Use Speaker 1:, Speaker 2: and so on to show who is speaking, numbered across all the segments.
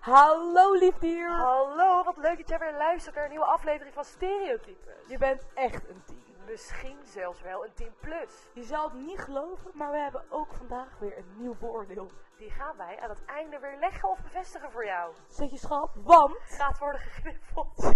Speaker 1: Hallo lief dier.
Speaker 2: Hallo, wat leuk dat jij weer luistert naar een nieuwe aflevering van Stereotypes.
Speaker 1: Je bent echt een tien.
Speaker 2: Misschien zelfs wel een 10 plus.
Speaker 1: Je zal het niet geloven, maar we hebben ook vandaag weer een nieuw voordeel.
Speaker 2: Die gaan wij aan het einde weer leggen of bevestigen voor jou.
Speaker 1: Zet je schrap, want...
Speaker 2: Gaat worden gegriffeld.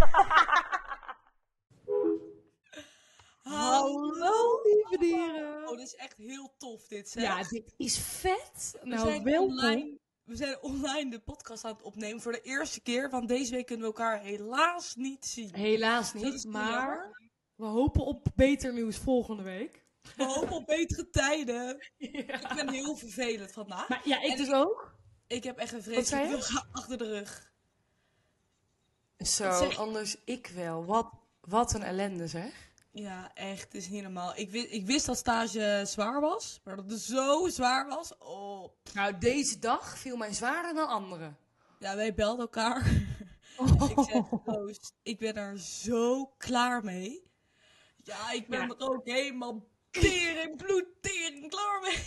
Speaker 3: Hallo lieve dieren.
Speaker 4: Oh, dit is echt heel tof dit, zeg.
Speaker 3: Ja, dit is vet.
Speaker 4: we
Speaker 3: Nou,
Speaker 4: zijn
Speaker 3: welkom.
Speaker 4: online. We zijn online de podcast aan het opnemen voor de eerste keer, want deze week kunnen we elkaar helaas niet zien.
Speaker 3: Helaas
Speaker 4: Dat is
Speaker 3: niet,
Speaker 4: heel
Speaker 3: maar
Speaker 4: jammer.
Speaker 3: we hopen op beter nieuws volgende week.
Speaker 4: We hopen op betere tijden.
Speaker 3: Ja.
Speaker 4: Ik ben heel vervelend vandaag.
Speaker 3: Maar ja, ik
Speaker 4: En
Speaker 3: dus
Speaker 4: ik-
Speaker 3: ook.
Speaker 4: Ik heb echt een
Speaker 3: Wat zei
Speaker 4: vreselijke
Speaker 3: je?
Speaker 4: dag achter de rug. Wat
Speaker 5: Zo,
Speaker 4: zeg je?
Speaker 5: anders ik wel. Wat, wat een ellende zeg.
Speaker 4: Ja, echt, het is niet normaal. Ik wist, ik wist dat stage zwaar was, maar dat het zo zwaar was. Oh.
Speaker 5: Nou, deze dag viel mij zwaarder dan andere.
Speaker 4: Ja, wij belden elkaar. ik zeg, "Joost, ik ben er zo klaar mee. Ja, ik ben
Speaker 3: Ja.
Speaker 4: er ook helemaal tering, bloed, tering klaar mee.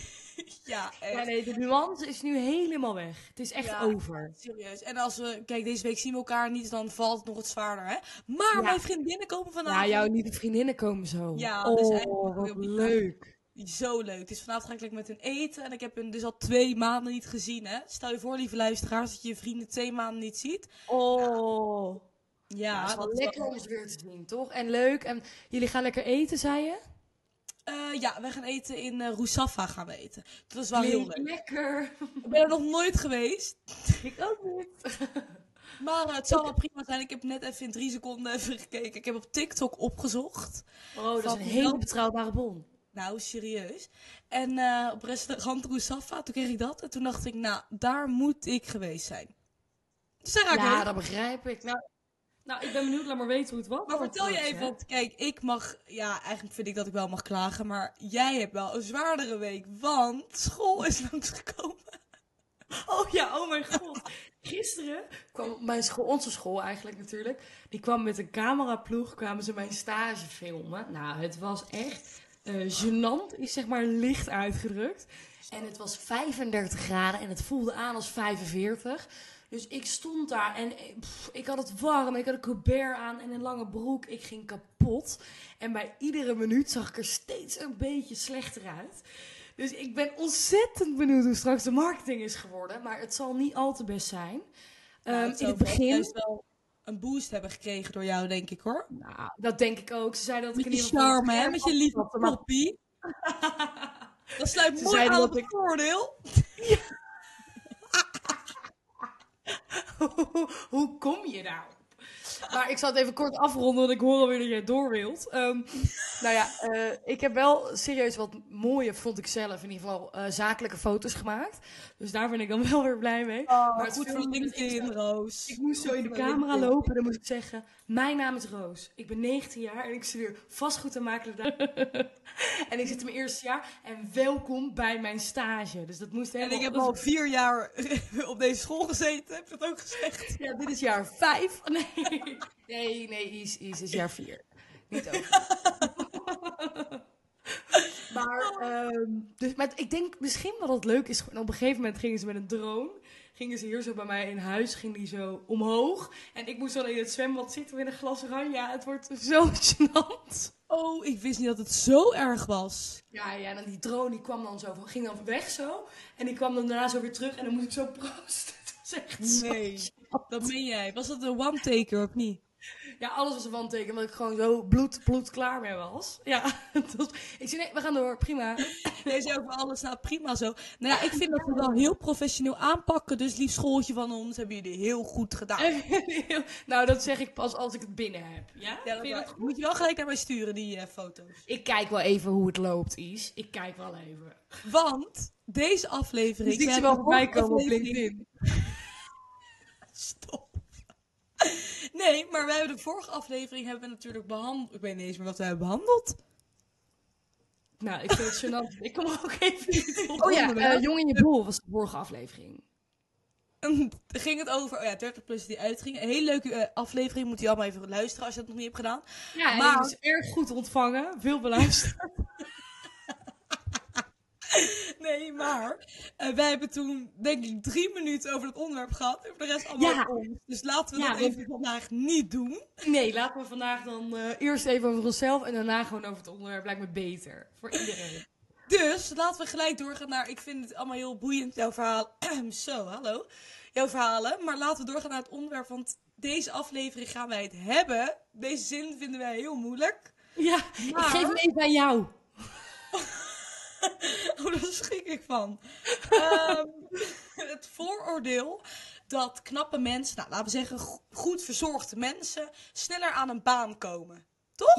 Speaker 4: ja, echt.
Speaker 5: Ja,
Speaker 3: Nee, de nuance is nu helemaal weg. Het is echt
Speaker 4: Ja.
Speaker 3: over.
Speaker 4: Serieus. En als we, kijk, deze week zien we elkaar niet, dan valt het nog wat zwaarder, hè? Maar
Speaker 3: Ja.
Speaker 4: mijn vriendinnen komen vanavond.
Speaker 5: Ja, jouw nieuwe vriendinnen komen zo.
Speaker 4: Ja, dus
Speaker 3: oh,
Speaker 4: eigenlijk
Speaker 3: wat
Speaker 4: heel bizar.
Speaker 3: leuk.
Speaker 4: Zo leuk. Dus vanavond ga ik lekker met hun eten. En ik heb hun dus al twee maanden niet gezien, hè? Stel je voor, lieve luisteraars, dat je je vrienden twee maanden niet ziet.
Speaker 3: Oh.
Speaker 4: Ja,
Speaker 5: het is wel
Speaker 4: dat is
Speaker 5: lekker
Speaker 4: wel-
Speaker 5: om het weer te zien, toch? En
Speaker 3: En leuk. En jullie gaan lekker eten, zei je?
Speaker 4: Eh, ja, we gaan eten in eh Roussafa gaan we eten. Dat is wel heel leuk.
Speaker 5: lekker.
Speaker 4: Ik ben er nog nooit geweest.
Speaker 3: Ik ook niet.
Speaker 4: Maar eh, het zal wel prima zijn. Ik heb net even in drie seconden even gekeken. Ik heb op TikTok opgezocht.
Speaker 3: Oh, dat is
Speaker 4: Van
Speaker 3: een hele
Speaker 4: wel-
Speaker 3: betrouwbare bron.
Speaker 4: Nou, serieus. En eh, op restaurant Roussafa, toen kreeg ik dat. En toen dacht ik, nou, daar moet ik geweest zijn. Dus daar ga ik
Speaker 5: Ja,
Speaker 4: heen.
Speaker 5: dat begrijp ik. Nou,
Speaker 3: Nou, ik ben benieuwd. Laat maar weten hoe het was.
Speaker 4: Maar vertel je even, want kijk, ik mag... Ja, eigenlijk vind ik dat ik wel mag klagen. Maar jij hebt wel een zwaardere week. Want school is langsgekomen.
Speaker 3: Oh ja, oh mijn god. Gisteren
Speaker 5: kwam mijn school, onze school eigenlijk natuurlijk. Die kwam met een cameraploeg, kwamen ze mijn stage filmen. Nou, het was echt eh gênant, is zeg maar licht uitgedrukt. En het was 35 graden en het voelde aan als 45. Dus ik stond daar en eh, pff, ik had het warm. Ik had een Colbert aan en een lange broek. Ik ging kapot. En bij iedere minuut zag ik er steeds een beetje slechter uit. Dus ik ben ontzettend benieuwd hoe straks de marketing is geworden. Maar het zal niet al te best zijn.
Speaker 4: Nou, het
Speaker 5: Ehm, in
Speaker 4: zou
Speaker 5: het
Speaker 4: wel
Speaker 5: begin...
Speaker 4: juist wel een boost hebben gekregen door jou, denk ik, hoor.
Speaker 5: Nou, dat denk ik ook. Ze zeiden dat
Speaker 4: Met
Speaker 5: ik
Speaker 4: je
Speaker 5: in ieder geval...
Speaker 4: charme, hè?
Speaker 5: scherp
Speaker 4: Met je lieve
Speaker 5: afknapte, maar-
Speaker 4: poppie. Dat sluit
Speaker 5: Ze
Speaker 4: mooi
Speaker 5: zeiden
Speaker 4: aan
Speaker 5: dat
Speaker 4: op het voordeel.
Speaker 5: Hoe kom je daarop?
Speaker 3: Maar ik zal het even kort afronden, want ik hoor alweer dat jij door wilt. Ehm,
Speaker 5: Nou ja, eh, ik heb wel serieus wat mooie, vond ik zelf in ieder geval, eh, zakelijke foto's gemaakt.
Speaker 3: dus daar ben ik dan wel weer blij mee.
Speaker 4: maar
Speaker 5: het
Speaker 4: Oh, goed
Speaker 5: viel
Speaker 4: voor
Speaker 5: me dus
Speaker 4: LinkedIn, Roos.
Speaker 3: Ik moest zo in de
Speaker 5: Goed,
Speaker 3: camera
Speaker 5: ik-
Speaker 3: lopen en dan moest ik zeggen... Mijn naam is Roos. Ik ben 19 jaar en ik studeer vastgoed en makelaar. en ik zit in mijn eerste jaar. En welkom bij mijn stage. Dus dat moest
Speaker 4: En
Speaker 3: helemaal...
Speaker 4: ik heb al vier jaar op deze school gezeten, heb ik dat ook gezegd.
Speaker 5: Ja, dit is jaar vijf. Nee, nee, nee Is, Is is jaar vier. Niet over.
Speaker 3: Maar, ehm, dus, maar ik denk misschien wel dat het leuk is. gewoon Op een gegeven moment gingen ze met een drone. Gingen ze hier zo bij mij in huis. Ging die zo omhoog. En ik moest dan in het zwembad zitten met een glas oranje. Ja, het wordt zo gênant.
Speaker 4: Oh, ik wist niet dat het zo erg was.
Speaker 3: Ja, ja, en dan die drone die kwam dan zo, van- ging dan weg zo. En die kwam dan daarna zo weer terug en dan moest ik zo proosten. Het was echt zo-
Speaker 4: Nee. Dat meen jij. Was dat een one-taker of niet?
Speaker 3: Ja, alles was een wandteken, omdat ik gewoon zo bloed, bloed klaar mee was. Ja, het was- ik zei nee, we gaan door, prima.
Speaker 4: Nee, ze ook wel alles nou prima zo. Nou ja, ik vind dat we wel heel professioneel aanpakken. Dus lief schooltje van ons hebben jullie heel goed gedaan.
Speaker 3: nou, dat zeg ik pas als ik het binnen heb. Ja?
Speaker 4: Ja,
Speaker 3: Vind je dat goed?
Speaker 4: moet je wel gelijk naar mij sturen, die eh, foto's.
Speaker 5: Ik kijk wel even hoe het loopt, Is.
Speaker 3: Ik kijk wel even.
Speaker 4: Want deze
Speaker 5: Dus
Speaker 3: Dus
Speaker 4: aflevering.
Speaker 3: Ik zie
Speaker 4: we
Speaker 3: ze
Speaker 4: hebben
Speaker 3: wel voorbij
Speaker 4: een
Speaker 3: komen op
Speaker 4: aflevering-
Speaker 3: LinkedIn.
Speaker 4: Stop. Nee, maar we hebben de vorige aflevering hebben we natuurlijk behandeld. Ik weet niet eens meer wat we hebben behandeld.
Speaker 3: Nou, ik vind het gênant. ik kom er ook even niet op.
Speaker 5: Oh ja,
Speaker 4: onderwerp.
Speaker 5: eh, Jong in je bol was de vorige aflevering.
Speaker 4: En ging het over oh ja, 30 plus die uitging. Een hele leuke eh, aflevering. Moet je allemaal even luisteren als je dat nog niet hebt gedaan.
Speaker 3: Ja,
Speaker 4: Maar-
Speaker 3: maar... is erg goed ontvangen, veel beluisterd.
Speaker 4: Nee, maar eh, wij hebben toen denk ik drie minuten over het onderwerp gehad. En voor de rest allemaal
Speaker 5: Ja.
Speaker 4: ons. Dus laten we
Speaker 5: Ja,
Speaker 4: dat
Speaker 5: want-
Speaker 4: even vandaag niet doen.
Speaker 5: Nee, laten we vandaag dan eh, eerst even over onszelf en daarna gewoon over het onderwerp. Lijkt me beter. Voor iedereen.
Speaker 4: Dus laten we gelijk doorgaan naar. Ik vind het allemaal heel boeiend, jouw verhaal. Zo, hallo. Jouw verhalen. Maar laten we doorgaan naar het onderwerp. Want deze aflevering gaan wij het hebben. Deze zin vinden wij heel moeilijk.
Speaker 5: Ja,
Speaker 4: Maar-
Speaker 5: ik geef hem even aan jou.
Speaker 4: Oh, daar schrik ik van. Ehm, het vooroordeel dat knappe mensen, nou, laten we zeggen go- goed verzorgde mensen, sneller aan een baan komen.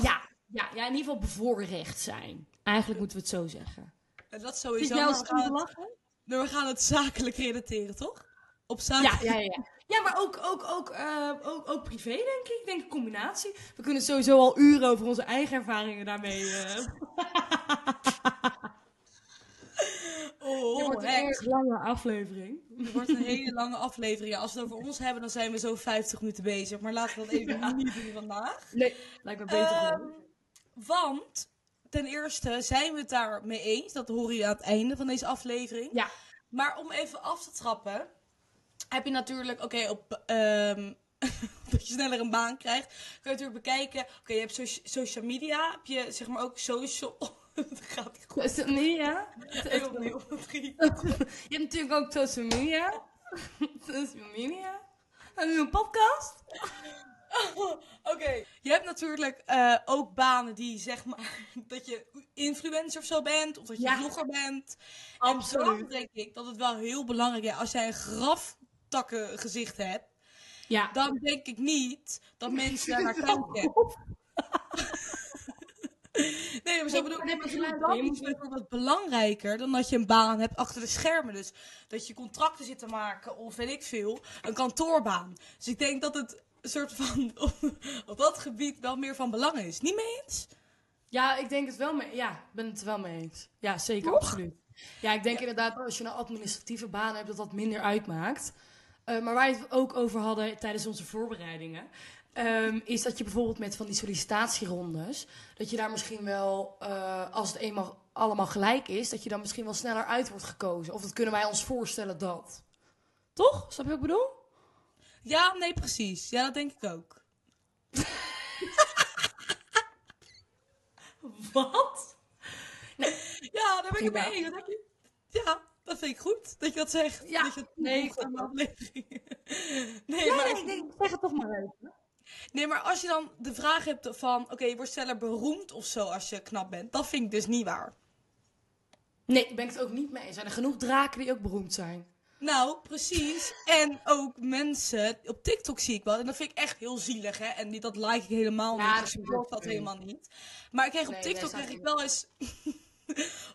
Speaker 5: Ja, ja, ja, in ieder geval bevoorrecht zijn. Eigenlijk moeten we het zo zeggen.
Speaker 4: En dat
Speaker 5: Vind
Speaker 4: sowieso.
Speaker 5: jij
Speaker 4: Maar
Speaker 5: ons
Speaker 4: we, gaan,
Speaker 5: lachen?
Speaker 4: maar we gaan het zakelijk relateren, toch? Op
Speaker 5: Ja,
Speaker 4: zakelijk.
Speaker 5: ja, ja. Ja, maar ook, ook, ook, eh, ook, ook privé, denk ik. Ik denk een combinatie. We kunnen sowieso al uren over onze eigen ervaringen daarmee... eh,
Speaker 4: Oh,
Speaker 5: dit wordt een
Speaker 4: heks.
Speaker 5: erg lange aflevering.
Speaker 4: Het wordt een hele lange aflevering. Ja, als we het over ons hebben, dan zijn we zo 50 minuten bezig. Maar laten we dat even niet doen vandaag.
Speaker 5: Nee, Eh, lijkt me beter
Speaker 4: Ehm,
Speaker 5: gewoon.
Speaker 4: Want, ten eerste, zijn we het daar mee eens. Dat horen jullie aan het einde van deze aflevering.
Speaker 5: Ja.
Speaker 4: Maar om even af te trappen, heb je natuurlijk, oké, op... ehm, dat je sneller een baan krijgt. Kun je natuurlijk bekijken. Oké, je hebt socia- social media. Heb je zeg maar ook social. dat gaat niet goed.
Speaker 5: Is het- Nee, ja?
Speaker 4: Even opnieuw. Drie.
Speaker 5: Je hebt natuurlijk ook social media. Social media. En nu een podcast.
Speaker 4: Oké. Je hebt natuurlijk eh, ook banen die zeg maar dat je influencer of zo bent, of dat je
Speaker 5: Ja.
Speaker 4: vlogger bent. En
Speaker 5: Absoluut.
Speaker 4: dan denk ik dat het wel heel belangrijk is als jij een graftakken gezicht hebt,
Speaker 5: Ja.
Speaker 4: dan denk ik niet dat mensen daar naar kijken. Nee, maar zo
Speaker 5: Ik
Speaker 4: bedoel
Speaker 5: ben
Speaker 4: ik.
Speaker 5: even
Speaker 4: maar
Speaker 5: gelijk,
Speaker 4: Dat
Speaker 5: je moet-
Speaker 4: is bijvoorbeeld belangrijker dan dat je een baan hebt achter de schermen. Dus dat je contracten zit te maken of weet ik veel, een kantoorbaan. Dus ik denk dat het een soort van op, op dat gebied wel meer van belang is. Niet mee eens?
Speaker 5: Ja, ik denk het wel mee. Ja, ik ben het wel mee eens. Ja, zeker, absoluut. Ja, ik denk inderdaad dat als je een administratieve baan hebt, dat dat minder uitmaakt. Eh, maar waar we het ook over hadden tijdens onze voorbereidingen, ehm, is dat je bijvoorbeeld met van die sollicitatierondes, dat je daar misschien wel, eh, als het eenmaal allemaal gelijk is, dat je dan misschien wel sneller uit wordt gekozen. Of dat kunnen wij ons voorstellen dat. Toch? Snap je wat ik bedoel?
Speaker 4: Ja, nee, precies. Ja, dat denk ik ook.
Speaker 5: Wat?
Speaker 4: Ja, daar ben ik het
Speaker 5: Ja.
Speaker 4: mee eens. Dat je- Ja, dat vind ik goed dat je dat zegt.
Speaker 5: Ja,
Speaker 4: dat je dat
Speaker 5: nee,
Speaker 4: toevoegt
Speaker 5: goed.
Speaker 4: aan de aflevering. Nee, maar ik-
Speaker 5: zeg het toch maar even.
Speaker 4: Nee, maar als je dan de vraag hebt van... Oké, je wordt sneller beroemd of zo als je knap bent. Dat vind ik dus niet waar.
Speaker 5: Nee, daar ben ik het ook niet mee eens. Er zijn er genoeg draken die ook beroemd zijn.
Speaker 4: Nou, precies. En ook mensen... Op TikTok zie ik wel. En dat vind ik echt heel zielig, hè. En die, dat like ik helemaal
Speaker 5: Ja,
Speaker 4: niet.
Speaker 5: dat
Speaker 4: Dus
Speaker 5: vind
Speaker 4: ik
Speaker 5: ik ook
Speaker 4: dat
Speaker 5: leuk.
Speaker 4: helemaal niet. Maar ik kreeg op
Speaker 5: Nee, wij
Speaker 4: TikTok
Speaker 5: staan
Speaker 4: kreeg ik
Speaker 5: er-
Speaker 4: wel eens...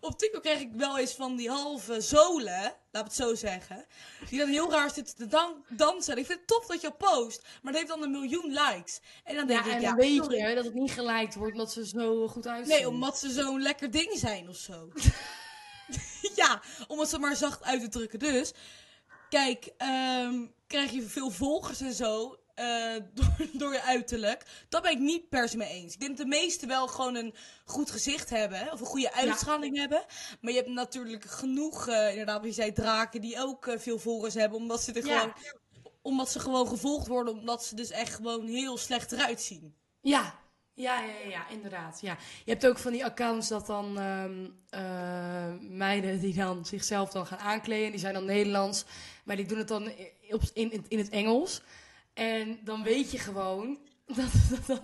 Speaker 4: op TikTok kreeg ik wel eens van die halve zolen. Laat het zo zeggen. Die dan heel raar zitten te dan- dansen. En ik vind het tof dat je post. Maar dat heeft dan een miljoen likes. En dan denk
Speaker 5: Ja, en
Speaker 4: ik,
Speaker 5: dan
Speaker 4: ja,
Speaker 5: weet
Speaker 4: sorry.
Speaker 5: je dat het niet gelijk wordt omdat ze zo goed uitzien.
Speaker 4: Nee, omdat ze zo'n lekker ding zijn of zo. ja, omdat ze maar zacht uit te drukken. Dus, kijk, ehm, krijg je veel volgers en zo eh, door, door je uiterlijk. Dat ben ik niet per se mee eens. Ik denk dat de meesten wel gewoon een goed gezicht hebben. Of een goede uitstraling hebben. Maar je hebt natuurlijk genoeg, eh, inderdaad, wat je zei, draken die ook eh, veel volgers hebben. Omdat ze, er
Speaker 5: Ja.
Speaker 4: gewoon, omdat ze gewoon gevolgd worden. Omdat ze dus echt gewoon heel slecht eruit zien.
Speaker 5: Ja. Ja, ja, ja, ja, inderdaad. Ja. Je hebt ook van die accounts dat dan ehm, eh, meiden die dan zichzelf dan gaan aankleden. Die zijn dan Nederlands, maar die doen het dan i- op- in, in, in het Engels. En dan weet je gewoon dat dat, dat,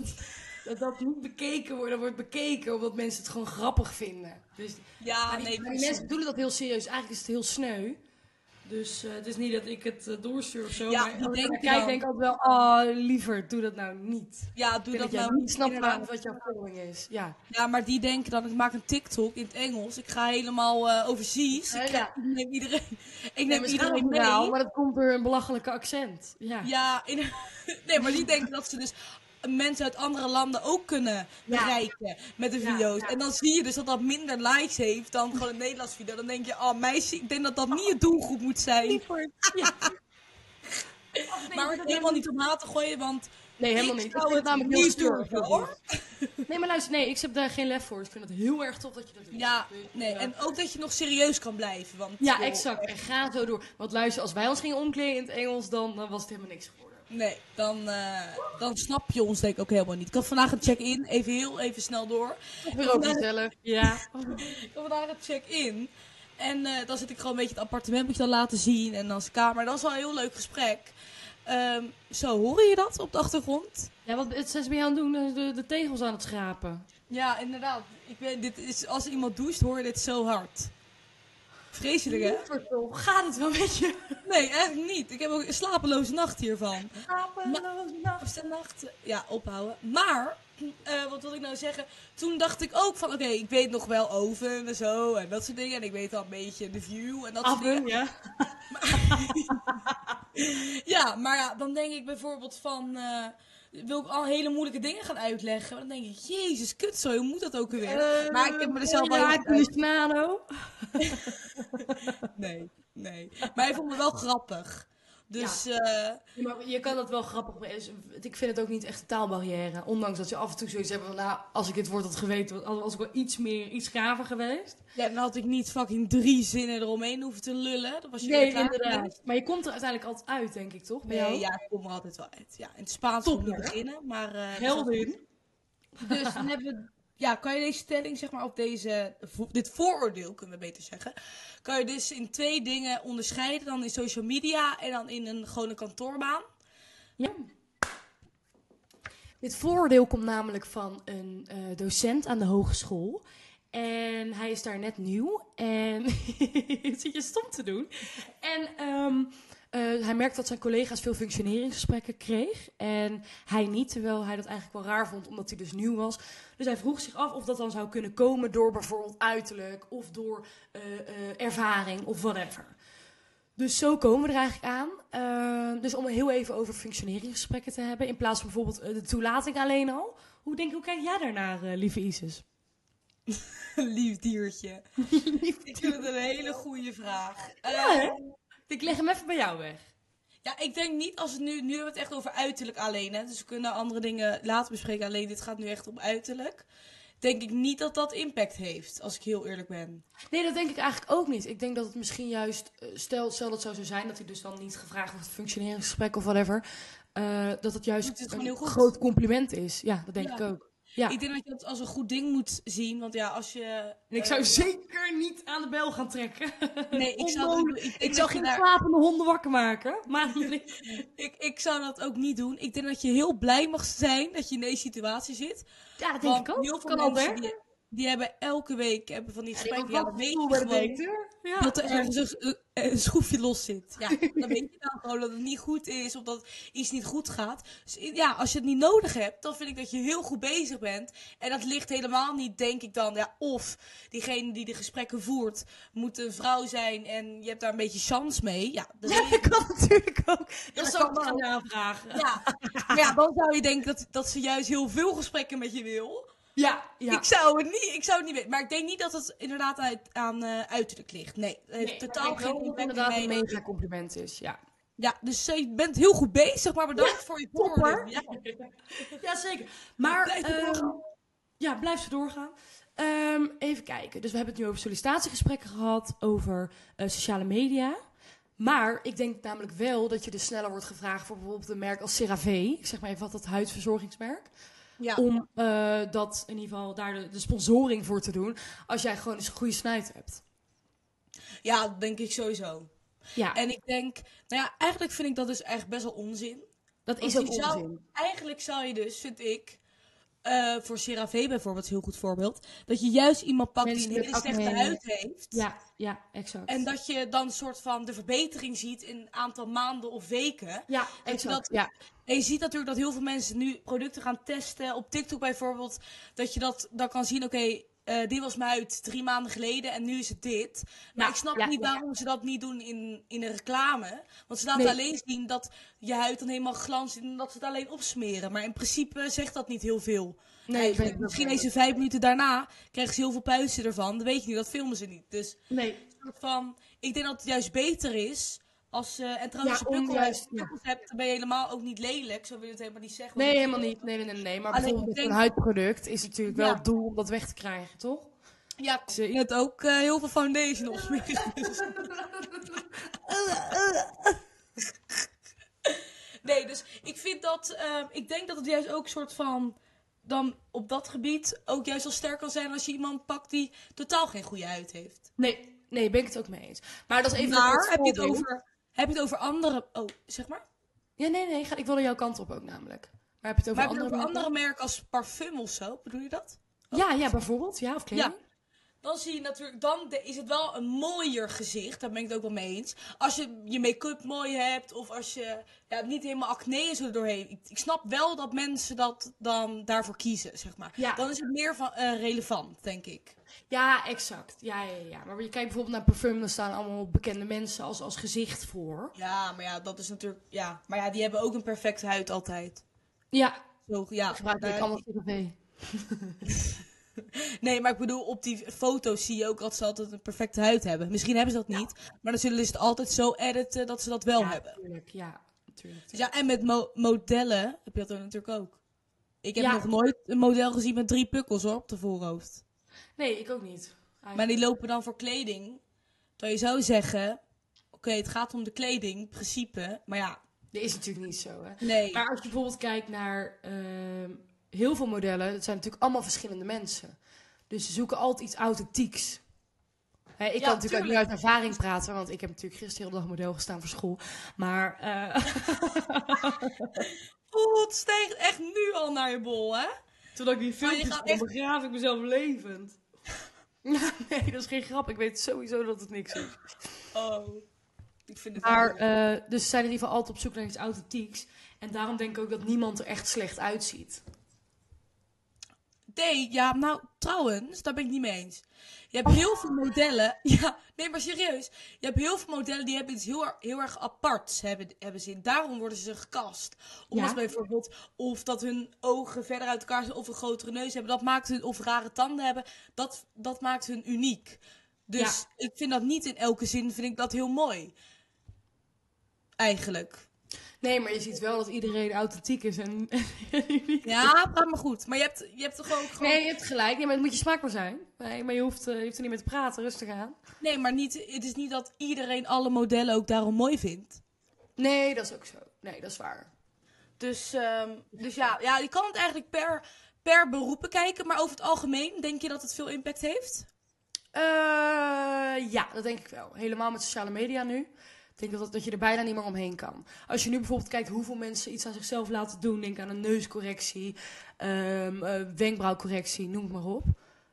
Speaker 5: dat, dat niet bekeken wordt. Dat wordt bekeken omdat mensen het gewoon grappig vinden. Dus
Speaker 4: Ja,
Speaker 5: maar die, maar die mensen bedoelen dat heel serieus. Eigenlijk is het heel sneu.
Speaker 2: Dus eh, het is niet dat ik het eh, doorstuur of zo.
Speaker 4: Ja,
Speaker 2: maar-
Speaker 4: dat denk
Speaker 5: Maar
Speaker 4: ik
Speaker 5: kijk,
Speaker 4: wel.
Speaker 5: denk ik altijd wel, oh, liever, doe dat nou niet.
Speaker 4: Ja, doe
Speaker 5: Ik
Speaker 4: dat
Speaker 5: dat jij
Speaker 4: nou
Speaker 5: niet snapt
Speaker 4: inderdaad.
Speaker 5: waar- wat jouw volging is. Ja.
Speaker 4: Ja, maar die denken dan, ik maak een TikTok in het Engels. Ik ga helemaal eh overzees.
Speaker 5: Oh, Ja,
Speaker 4: Ik,
Speaker 5: ja.
Speaker 4: ik neem iedereen, ik
Speaker 5: Nee,
Speaker 4: neem
Speaker 5: misschien ook
Speaker 4: iedereen mee.
Speaker 5: wel, maar dat komt door een belachelijke accent. Ja.
Speaker 4: Ja, in- nee, maar die denken dat ze dus mensen uit andere landen ook kunnen
Speaker 5: Ja.
Speaker 4: bereiken met de
Speaker 5: Ja,
Speaker 4: video's.
Speaker 5: ja.
Speaker 4: En dan zie je dus dat dat minder likes heeft dan gewoon een Nederlands video. Dan denk je, oh meisje, ik denk dat dat niet je doelgroep moet zijn.
Speaker 5: Ja.
Speaker 4: maar ik wil helemaal niet om haat te gooien, want
Speaker 5: Nee, helemaal
Speaker 4: Ik
Speaker 5: niet.
Speaker 4: zou
Speaker 5: vind
Speaker 4: het
Speaker 5: namelijk heel
Speaker 4: niet
Speaker 5: stoer,
Speaker 4: durven,
Speaker 5: heel
Speaker 4: hoor.
Speaker 5: lief. Nee, maar luister, nee, ik heb daar geen lef voor. Ik vind het heel erg tof dat je dat doet.
Speaker 4: Ja, nee. En ook dat je nog serieus kan blijven. Want,
Speaker 5: Ja,
Speaker 4: joh,
Speaker 5: exact. En ga zo door. Want luister, als wij ons gingen omkleden in het Engels, dan, dan was het helemaal niks geworden.
Speaker 4: Nee, dan, eh, dan snap je ons denk ik ook helemaal niet. Ik had vandaag een check-in, even heel even snel door.
Speaker 5: Weer ook zelf. Ja.
Speaker 4: Ik had vandaag een check-in. En eh, dan zit ik gewoon een beetje het appartement moet je dan laten zien. En dan zijn kamer. Dat is wel een heel leuk gesprek. Ehm, zo, hoor je dat op de achtergrond?
Speaker 5: Ja, wat het zijn ze bij jou aan het doen? eh, De, de tegels aan het schrapen.
Speaker 4: Ja, inderdaad. Ik weet, dit is, als iemand doucht, hoor je dit zo hard. Vreselijk, hè?
Speaker 5: Hoe gaat het wel met je?
Speaker 4: Nee, eigenlijk niet. Ik heb ook een slapeloze nacht hiervan.
Speaker 5: Nou,
Speaker 4: Slapeloze Nou, nacht. eh, Ja, ophouden. Maar, eh, wat wil ik nou zeggen? Toen dacht ik ook van, oké, ik weet nog wel oven en zo en dat soort dingen. En ik weet al een beetje de view en dat soort dingen.
Speaker 5: Appen, ja.
Speaker 4: Ja, maar ja, dan denk ik bijvoorbeeld van... eh, wil ik al hele moeilijke dingen gaan uitleggen? Maar dan denk ik, jezus, kut zo, hoe moet dat ook
Speaker 5: Eh.
Speaker 4: weer? maar ik heb me er zelf wel...
Speaker 5: Ja,
Speaker 4: heel-
Speaker 5: de snado.
Speaker 4: Nee, nee. Maar hij vond me wel grappig. Dus, eh,
Speaker 5: Ja, maar je kan dat wel grappig maken. Dus Ik vind het ook niet echt een taalbarrière. Ondanks dat ze af en toe zoiets hebben van, nou, als ik dit woord had geweten, was was ik wel iets meer, iets graver geweest.
Speaker 4: ja, dan had ik niet fucking drie zinnen eromheen hoeven te lullen. Dat was je
Speaker 5: Nee,
Speaker 4: klaar.
Speaker 5: inderdaad. Maar je komt er uiteindelijk altijd uit, denk ik, toch? Bij jou?
Speaker 4: Nee, ja, ik kom er altijd wel uit. Ja, in het Spaans
Speaker 5: Top,
Speaker 4: moet ik
Speaker 5: hè?
Speaker 4: beginnen, maar... eh,
Speaker 5: Heldin.
Speaker 4: Dus dan hebben we... Ja, kan je deze stelling, zeg maar, of deze, vo- dit vooroordeel, kunnen we beter zeggen. Kan je dus in twee dingen onderscheiden. Dan in social media en dan in een gewone kantoorbaan.
Speaker 5: Ja. Dit voordeel komt namelijk van een eh, docent aan de hogeschool. En hij is daar net nieuw. En zit je stom te doen. En ehm, eh, hij merkt dat zijn collega's veel functioneringsgesprekken kreeg. En hij niet, terwijl hij dat eigenlijk wel raar vond, omdat hij dus nieuw was. Dus hij vroeg zich af of dat dan zou kunnen komen door bijvoorbeeld uiterlijk of door eh, eh, ervaring of whatever. Dus zo komen we er eigenlijk aan. Eh, dus om heel even over functioneringsgesprekken te hebben, in plaats van bijvoorbeeld eh, de toelating alleen al. Hoe, denk, hoe kijk jij daarnaar, eh, lieve Isis?
Speaker 4: Lief diertje. Ik vind het een hele goede vraag. Eh,
Speaker 5: hè? Ik leg hem even bij jou weg.
Speaker 4: ja, ik denk niet als het nu... Nu hebben we het echt over uiterlijk alleen, hè. Dus we kunnen andere dingen later bespreken. Alleen dit gaat nu echt om uiterlijk. Denk ik niet dat dat impact heeft, als ik heel eerlijk ben.
Speaker 5: Nee, dat denk ik eigenlijk ook niet. Ik denk dat het misschien juist, eh, stel, stel dat zou zo zijn, dat hij dus dan niet gevraagd wordt voor functioneringsgesprek of whatever. eh, dat het
Speaker 4: Doet
Speaker 5: juist
Speaker 4: hij het
Speaker 5: een
Speaker 4: gewoon heel goed?
Speaker 5: groot compliment is. Ja, dat denk
Speaker 4: Ja.
Speaker 5: ik ook. Ja.
Speaker 4: Ik denk dat je dat als een goed ding moet zien. Want ja, als je... eh,
Speaker 5: En ik zou zeker niet aan de bel gaan trekken.
Speaker 4: Nee, ik zou, ik,
Speaker 5: Onmogelijk.
Speaker 4: denk
Speaker 5: Oh, Ik
Speaker 4: dat je
Speaker 5: zou geen
Speaker 4: daar-
Speaker 5: slapende honden wakker maken. Maar
Speaker 4: ik, ik zou dat ook niet doen. Ik denk dat je heel blij mag zijn dat je in deze situatie zit.
Speaker 5: ja, dat denk
Speaker 4: Want
Speaker 5: ik ook.
Speaker 4: heel veel
Speaker 5: Kan
Speaker 4: mensen
Speaker 5: ander.
Speaker 4: die, die hebben elke week hebben van die gesprekken. Ja,
Speaker 5: Ja,
Speaker 4: dan weet
Speaker 5: voel
Speaker 4: je
Speaker 5: bij de
Speaker 4: gewoon
Speaker 5: deur. Ja.
Speaker 4: dat er ergens een, een- een schroefje los zit. Ja, dan weet je dan gewoon dat het niet goed is of dat iets niet goed gaat. Dus i- ja, als je het niet nodig hebt, dan vind ik dat je heel goed bezig bent. En dat ligt helemaal niet, denk ik dan. Ja, of diegene die de gesprekken voert moet een vrouw zijn en je hebt daar een beetje chance mee. Ja, dat weet ik
Speaker 5: dat kan natuurlijk ook.
Speaker 4: Ja,
Speaker 5: Dat
Speaker 4: dat
Speaker 5: zou ik
Speaker 4: kan
Speaker 5: nog gaan navragen.
Speaker 4: Ja, maar ja, dan zou je denken dat, dat ze juist heel veel gesprekken met je wil.
Speaker 5: Ja, ja.
Speaker 4: Ik, zou het niet, ik zou het niet weten. Maar ik denk niet dat het inderdaad uit, aan eh uiterlijk ligt. Nee, het heeft totaal geen impact
Speaker 5: inderdaad
Speaker 4: mee.
Speaker 5: een mega compliment is. Ja.
Speaker 4: Ja, dus eh, je bent heel goed bezig, maar bedankt voor je voordeel. Ja.
Speaker 5: Jazeker. Maar
Speaker 4: Blijf zo
Speaker 5: ehm,
Speaker 4: doorgaan.
Speaker 5: ja, blijf zo doorgaan. Ehm, even kijken. Dus we hebben het nu over sollicitatiegesprekken gehad, over eh, sociale media. Maar ik denk namelijk wel dat je dus sneller wordt gevraagd voor bijvoorbeeld een merk als CeraVe. Ik zeg maar even wat dat huidverzorgingsmerk.
Speaker 4: Ja.
Speaker 5: Om eh, dat in ieder geval daar de, de sponsoring voor te doen. Als jij gewoon eens een goede snuit hebt.
Speaker 4: ja, dat denk ik sowieso.
Speaker 5: Ja,
Speaker 4: En ik denk, nou ja, eigenlijk vind ik dat dus echt best wel onzin.
Speaker 5: dat is ook
Speaker 4: want je
Speaker 5: onzin.
Speaker 4: zou- Eigenlijk zou je dus, vind ik, eh, voor CeraVe bijvoorbeeld, een heel goed voorbeeld, dat je juist iemand pakt
Speaker 5: Mensen
Speaker 4: die een
Speaker 5: met
Speaker 4: hele slechte
Speaker 5: acne.
Speaker 4: huid heeft.
Speaker 5: Ja, ja, exact.
Speaker 4: En dat je dan een soort van de verbetering ziet in een aantal maanden of weken.
Speaker 5: ja,
Speaker 4: je
Speaker 5: exact.
Speaker 4: dat-
Speaker 5: ja.
Speaker 4: En je ziet natuurlijk dat heel veel mensen nu producten gaan testen. Op TikTok bijvoorbeeld. Dat je dat dan kan zien. Oké, eh, dit was mijn huid drie maanden geleden en nu is het dit. Maar
Speaker 5: Ja,
Speaker 4: ik snap
Speaker 5: ja,
Speaker 4: niet
Speaker 5: ja.
Speaker 4: waarom ze dat niet doen in, in een reclame. Want ze laten
Speaker 5: Nee.
Speaker 4: alleen zien dat je huid dan helemaal glanst en dat ze het alleen opsmeren. Maar in principe zegt dat niet heel veel.
Speaker 5: Nee,
Speaker 4: Eigenlijk.
Speaker 5: ik weet het
Speaker 4: Misschien
Speaker 5: wel.
Speaker 4: eens vijf minuten daarna krijgen ze heel veel puisten ervan. Dat weet je niet, dat filmen ze niet. Dus
Speaker 5: Nee,
Speaker 4: soort van. Ik denk dat het juist beter is Als, eh, en trouwens,
Speaker 5: Ja,
Speaker 4: als je
Speaker 5: onjuist,
Speaker 4: bukkels
Speaker 5: ja.
Speaker 4: bukkels hebt, dan ben je helemaal ook niet lelijk. Zo wil je het helemaal niet zeggen.
Speaker 5: Nee, helemaal niet. Nee, nee, nee. nee. Maar
Speaker 4: Alleen
Speaker 5: bijvoorbeeld
Speaker 4: ik
Speaker 5: met
Speaker 4: denk-
Speaker 5: een huidproduct is natuurlijk wel
Speaker 4: Ja.
Speaker 5: het doel om dat weg te krijgen, toch?
Speaker 4: Ja, ik heb ook eh, heel veel foundation opsmeren. dus. nee, dus ik vind dat... ehm, ik denk dat het juist ook een soort van... Dan op dat gebied ook juist al sterk kan zijn als je iemand pakt die totaal geen goede huid heeft.
Speaker 5: Nee, nee, ben ik het ook mee eens. Maar dat is even... een
Speaker 4: Maar
Speaker 5: goed
Speaker 4: heb je het
Speaker 5: voorbeeld.
Speaker 4: over, heb je het over andere... Oh, zeg maar.
Speaker 5: Ja, nee, nee. ga- Ik wilde jouw kant op ook namelijk. Maar heb je het over
Speaker 4: Maar heb je het over
Speaker 5: andere... merken?
Speaker 4: andere merken als parfum of zo? Bedoel je dat?
Speaker 5: Ja, ja, bijvoorbeeld. Ja, of kleding.
Speaker 4: Ja. Dan zie je natuurlijk, dan de- is het wel een mooier gezicht. Daar ben ik het ook wel mee eens. Als je je make-up mooi hebt of als je ja, niet helemaal acne is er doorheen. Ik, ik snap wel dat mensen dat dan daarvoor kiezen, zeg maar.
Speaker 5: Ja.
Speaker 4: Dan is het meer van, eh, relevant, denk ik.
Speaker 5: Ja, exact. Ja, ja, ja. Maar je kijkt bijvoorbeeld naar parfum, dan staan allemaal bekende mensen als, als gezicht voor.
Speaker 4: Ja, maar ja, dat is natuurlijk, ja. Maar ja, die hebben ook een perfecte huid altijd.
Speaker 5: Ja,
Speaker 4: Zo, ja.
Speaker 5: gebruik ik
Speaker 4: daar-
Speaker 5: allemaal CGV.
Speaker 4: Nee, maar ik bedoel, op die foto's zie je ook dat ze altijd een perfecte huid hebben. Misschien hebben ze dat niet, maar dan zullen ze het altijd zo editen dat ze dat wel
Speaker 5: Ja,
Speaker 4: hebben.
Speaker 5: natuurlijk. Ja, natuurlijk.
Speaker 4: Dus ja, en met mo- modellen heb je dat dan natuurlijk ook. Ik heb
Speaker 5: Ja.
Speaker 4: nog nooit een model gezien met drie pukkels hoor, op de voorhoofd.
Speaker 5: Nee, ik ook niet. Eigenlijk.
Speaker 4: Maar die lopen dan voor kleding. Terwijl je zou zeggen, oké, het gaat om de kleding, in principe. Maar ja,
Speaker 5: Dat is natuurlijk niet zo, hè.
Speaker 4: nee.
Speaker 5: Maar als je bijvoorbeeld kijkt naar ehm, heel veel modellen, dat zijn natuurlijk allemaal verschillende mensen. Dus ze zoeken altijd iets authentieks. Hè, ik
Speaker 4: Ja,
Speaker 5: kan natuurlijk ook
Speaker 4: tuurlijk.
Speaker 5: niet uit ervaring praten, want ik heb natuurlijk gisteren heel de dag model gestaan voor school. Maar eh,
Speaker 4: Oeh, Oh, het steekt echt nu al naar je bol, hè?
Speaker 5: toen ik
Speaker 4: Maar
Speaker 5: die
Speaker 4: je
Speaker 5: filmpjes
Speaker 4: gaat
Speaker 5: kon,
Speaker 4: echt-
Speaker 5: begraaf ik mezelf levend. nee, dat is geen grap. Ik weet sowieso dat het niks is.
Speaker 4: Oh, ik vind het
Speaker 5: Maar,
Speaker 4: wel-
Speaker 5: eh, dus ze zijn in ieder geval altijd op zoek naar iets authentieks. En daarom denk ik ook dat niemand er echt slecht uitziet.
Speaker 4: Nee, ja, nou, trouwens, daar ben ik niet mee eens. Je
Speaker 5: Oh.
Speaker 4: hebt heel veel modellen... Ja, nee, maar serieus. Je hebt heel veel modellen die hebben iets heel, er- heel erg aparts hebben, hebben ze in. Daarom worden ze gekast. Omdat
Speaker 5: Ja.
Speaker 4: bijvoorbeeld... Of dat hun ogen verder uit elkaar zijn of een grotere neus hebben. Dat maakt hun... Of rare tanden hebben. Dat, dat maakt hun uniek. Dus ik vind dat niet in elke zin vind ik dat heel mooi. Eigenlijk.
Speaker 5: Nee, maar je ziet wel dat iedereen authentiek is en, en uniek.
Speaker 4: Ja, praat maar goed. Maar je hebt, je hebt toch ook gewoon...
Speaker 5: Nee, je hebt gelijk. Nee, maar het moet je smaakbaar zijn. Nee, maar je hoeft, eh, je hoeft er niet mee te praten. Rustig aan.
Speaker 4: Nee, maar niet, het is niet dat iedereen alle modellen ook daarom mooi vindt.
Speaker 5: Nee, dat is ook zo. Nee, dat is waar.
Speaker 4: Dus, ehm, dus ja, ja, je kan het eigenlijk per, per beroep kijken. Maar over het algemeen denk je dat het veel impact heeft?
Speaker 5: Eh, ja, dat denk ik wel. Helemaal met sociale media nu. Ik denk dat, dat, dat je er bijna niet meer omheen kan. Als je nu bijvoorbeeld kijkt hoeveel mensen iets aan zichzelf laten doen. Denk aan een neuscorrectie, ehm, eh, wenkbrauwcorrectie, noem het maar op.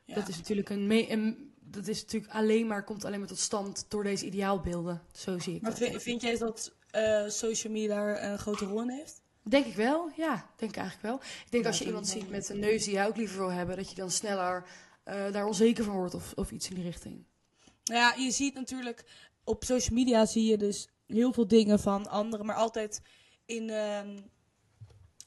Speaker 4: Ja.
Speaker 5: Dat is natuurlijk een... me- een- dat is natuurlijk alleen maar, komt alleen maar tot stand door deze ideaalbeelden. Zo zie ik
Speaker 4: Maar
Speaker 5: dat.
Speaker 4: vind, vind jij dat eh, social media daar een grote rol in heeft?
Speaker 5: Denk ik wel, ja. Denk ik eigenlijk wel. Ik denk
Speaker 4: Ja,
Speaker 5: als je
Speaker 4: dat
Speaker 5: iemand
Speaker 4: is wel
Speaker 5: ziet met een neus die jij ook liever wil hebben, dat je dan sneller eh, daar onzeker van wordt of, of iets in die richting.
Speaker 4: Nou ja, je ziet natuurlijk op social media zie je dus heel veel dingen van anderen, maar altijd in ehm,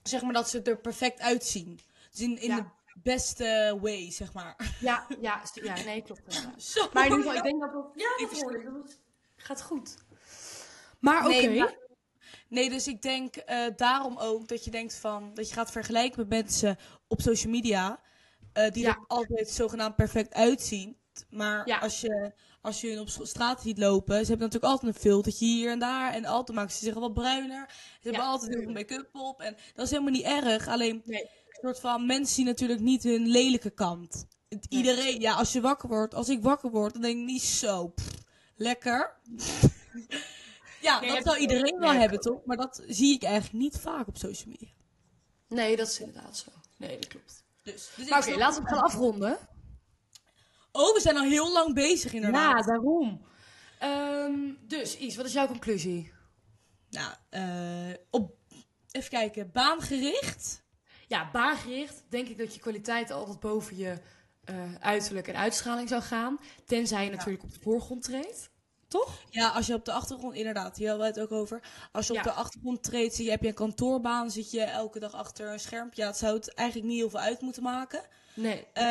Speaker 4: zeg maar dat ze er perfect uitzien. Dus in, in
Speaker 5: Ja.
Speaker 4: de beste way, zeg maar.
Speaker 5: Ja, ja, stu- ja nee, klopt. inderdaad.
Speaker 4: Zo,
Speaker 5: Maar in ieder geval, ik denk dat dat. Ja,
Speaker 4: Ik
Speaker 5: dat hoor ik. Dat gaat goed. Maar oké.
Speaker 4: Nee, maar- nee, dus ik denk eh, daarom ook dat je denkt van dat je gaat vergelijken met mensen op social media eh, die
Speaker 5: Ja.
Speaker 4: er altijd zogenaamd perfect uitzien. Maar
Speaker 5: Ja.
Speaker 4: als, je, als je hun op straat ziet lopen, ze hebben natuurlijk altijd een filtertje hier en daar. En altijd maken ze zich wat bruiner. Ze hebben altijd heel veel make-up op. En dat is helemaal niet erg. Alleen
Speaker 5: Nee.
Speaker 4: een soort van mensen zien natuurlijk niet hun lelijke kant. Het-
Speaker 5: Nee.
Speaker 4: Iedereen, ja, als je wakker wordt, als ik wakker word, dan denk ik niet zo. pff, lekker. Ja,
Speaker 5: Nee,
Speaker 4: dat zou
Speaker 5: heb ik ook.
Speaker 4: iedereen wel
Speaker 5: Nee, heb
Speaker 4: hebben, toch? Maar dat zie ik eigenlijk niet vaak op social media.
Speaker 5: Nee, dat is inderdaad zo. Nee, dat klopt.
Speaker 4: Dus, dus
Speaker 5: Maar
Speaker 4: ik
Speaker 5: oké,
Speaker 4: snap-
Speaker 5: laten we het gaan afronden.
Speaker 4: Oh, we zijn al heel lang bezig, inderdaad.
Speaker 5: Ja, daarom. Ehm, dus, Is, wat is jouw conclusie?
Speaker 4: Nou, eh, op, even kijken. Baangericht.
Speaker 5: Ja, baangericht denk ik dat je kwaliteit altijd boven je eh, uiterlijk en uitstraling zou gaan. Tenzij je natuurlijk op de voorgrond treedt. Toch?
Speaker 4: Ja, als je op de achtergrond, inderdaad, hier hadden we het ook over. Als je op
Speaker 5: Ja.
Speaker 4: de achtergrond treedt, zie je, heb je een kantoorbaan, zit je elke dag achter een schermpje. Ja, het zou het eigenlijk niet heel veel uit moeten maken.
Speaker 5: Nee.
Speaker 4: Eh,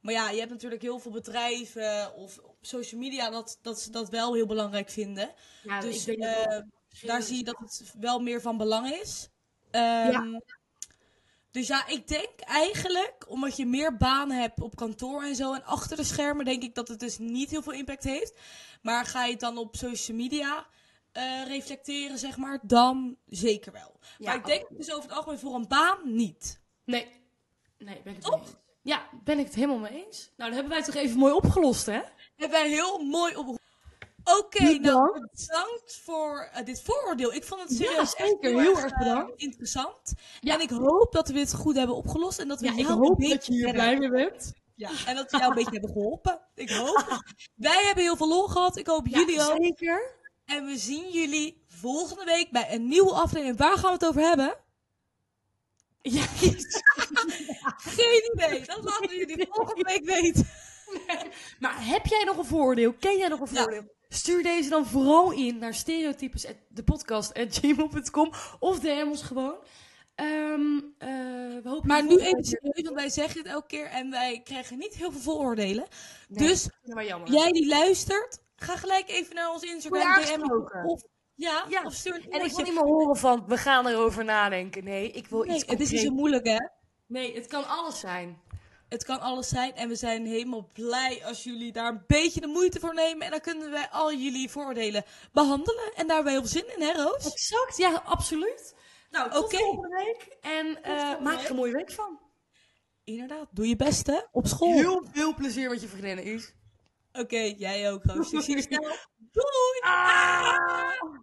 Speaker 4: maar ja, je hebt natuurlijk heel veel bedrijven of social media dat, dat ze dat wel heel belangrijk vinden.
Speaker 5: Ja,
Speaker 4: dus
Speaker 5: ik denk dat
Speaker 4: eh,
Speaker 5: dat
Speaker 4: daar zie je dat het wel meer van belang is. Ehm, Dus ja, ik denk eigenlijk, omdat je meer banen hebt op kantoor en zo en achter de schermen, denk ik dat het dus niet heel veel impact heeft. Maar ga je het dan op social media eh, reflecteren, zeg maar, dan zeker wel. maar ik denk dus over het algemeen voor een baan niet.
Speaker 5: Nee. Nee, ben ik het
Speaker 4: Toch?
Speaker 5: mee eens. Ja, ben ik het helemaal mee eens. Nou, dat hebben wij toch even mooi opgelost, hè?
Speaker 4: Hebben wij heel mooi op. Oké, nou bedankt voor eh, dit vooroordeel. Ik vond het serieus echt
Speaker 5: zeker.
Speaker 4: heel,
Speaker 5: Heel
Speaker 4: erg
Speaker 5: erg
Speaker 4: eh,
Speaker 5: bedankt.
Speaker 4: interessant.
Speaker 5: Ja.
Speaker 4: En ik hoop dat we dit goed hebben opgelost en dat we
Speaker 5: Ja, ik
Speaker 4: jou
Speaker 5: hoop
Speaker 4: een
Speaker 5: dat je
Speaker 4: beetje
Speaker 5: hier
Speaker 4: verder-
Speaker 5: blij mee bent.
Speaker 4: Ja, en dat we jou een beetje hebben geholpen. Ik hoop. het. Wij hebben heel veel lol gehad. Ik hoop
Speaker 5: Ja,
Speaker 4: jullie ook.
Speaker 5: Zeker.
Speaker 4: En we zien jullie volgende week bij een nieuwe aflevering. Waar gaan we het over hebben? Ja, geen idee. Dat laten we jullie volgende week weten.
Speaker 5: Maar heb jij nog een voordeel? Ken jij nog een
Speaker 4: Ja.
Speaker 5: voordeel? Stuur deze dan vooral in naar stereotypes@depodcast@gmail.com of DM ons gewoon. Ehm, eh, we hopen
Speaker 4: Maar nu
Speaker 5: jullie-
Speaker 4: even serieus, want wij zeggen het elke keer en wij krijgen niet heel veel vooroordelen.
Speaker 5: Nee,
Speaker 4: Dus
Speaker 5: ja, maar jammer.
Speaker 4: jij die luistert, ga gelijk even naar ons Instagram
Speaker 5: Word je
Speaker 4: DM.
Speaker 5: aangesproken?
Speaker 4: Of, ja,
Speaker 5: Ja.
Speaker 4: of stuur een
Speaker 5: En ik wil
Speaker 4: oortje.
Speaker 5: niet meer horen van, we gaan erover nadenken. Nee, ik wil
Speaker 4: Nee,
Speaker 5: iets
Speaker 4: het is dus niet zo
Speaker 5: concreets.
Speaker 4: moeilijk, hè?
Speaker 5: Nee, het kan alles zijn.
Speaker 4: Het kan alles zijn en we zijn helemaal blij als jullie daar een beetje de moeite voor nemen. En dan kunnen wij al jullie voordelen behandelen. En daar hebben wij heel veel zin in, hè Roos?
Speaker 5: Exact, ja, absoluut. Nou, tot
Speaker 4: Oké.
Speaker 5: volgende week. En eh, maak er een mooie week van.
Speaker 4: Inderdaad, doe je best hè, op school. Oké,
Speaker 5: Heel veel plezier met je vriendinnen, Is.
Speaker 4: jij ook Roos. Ik zie je snel. Doei! Ah!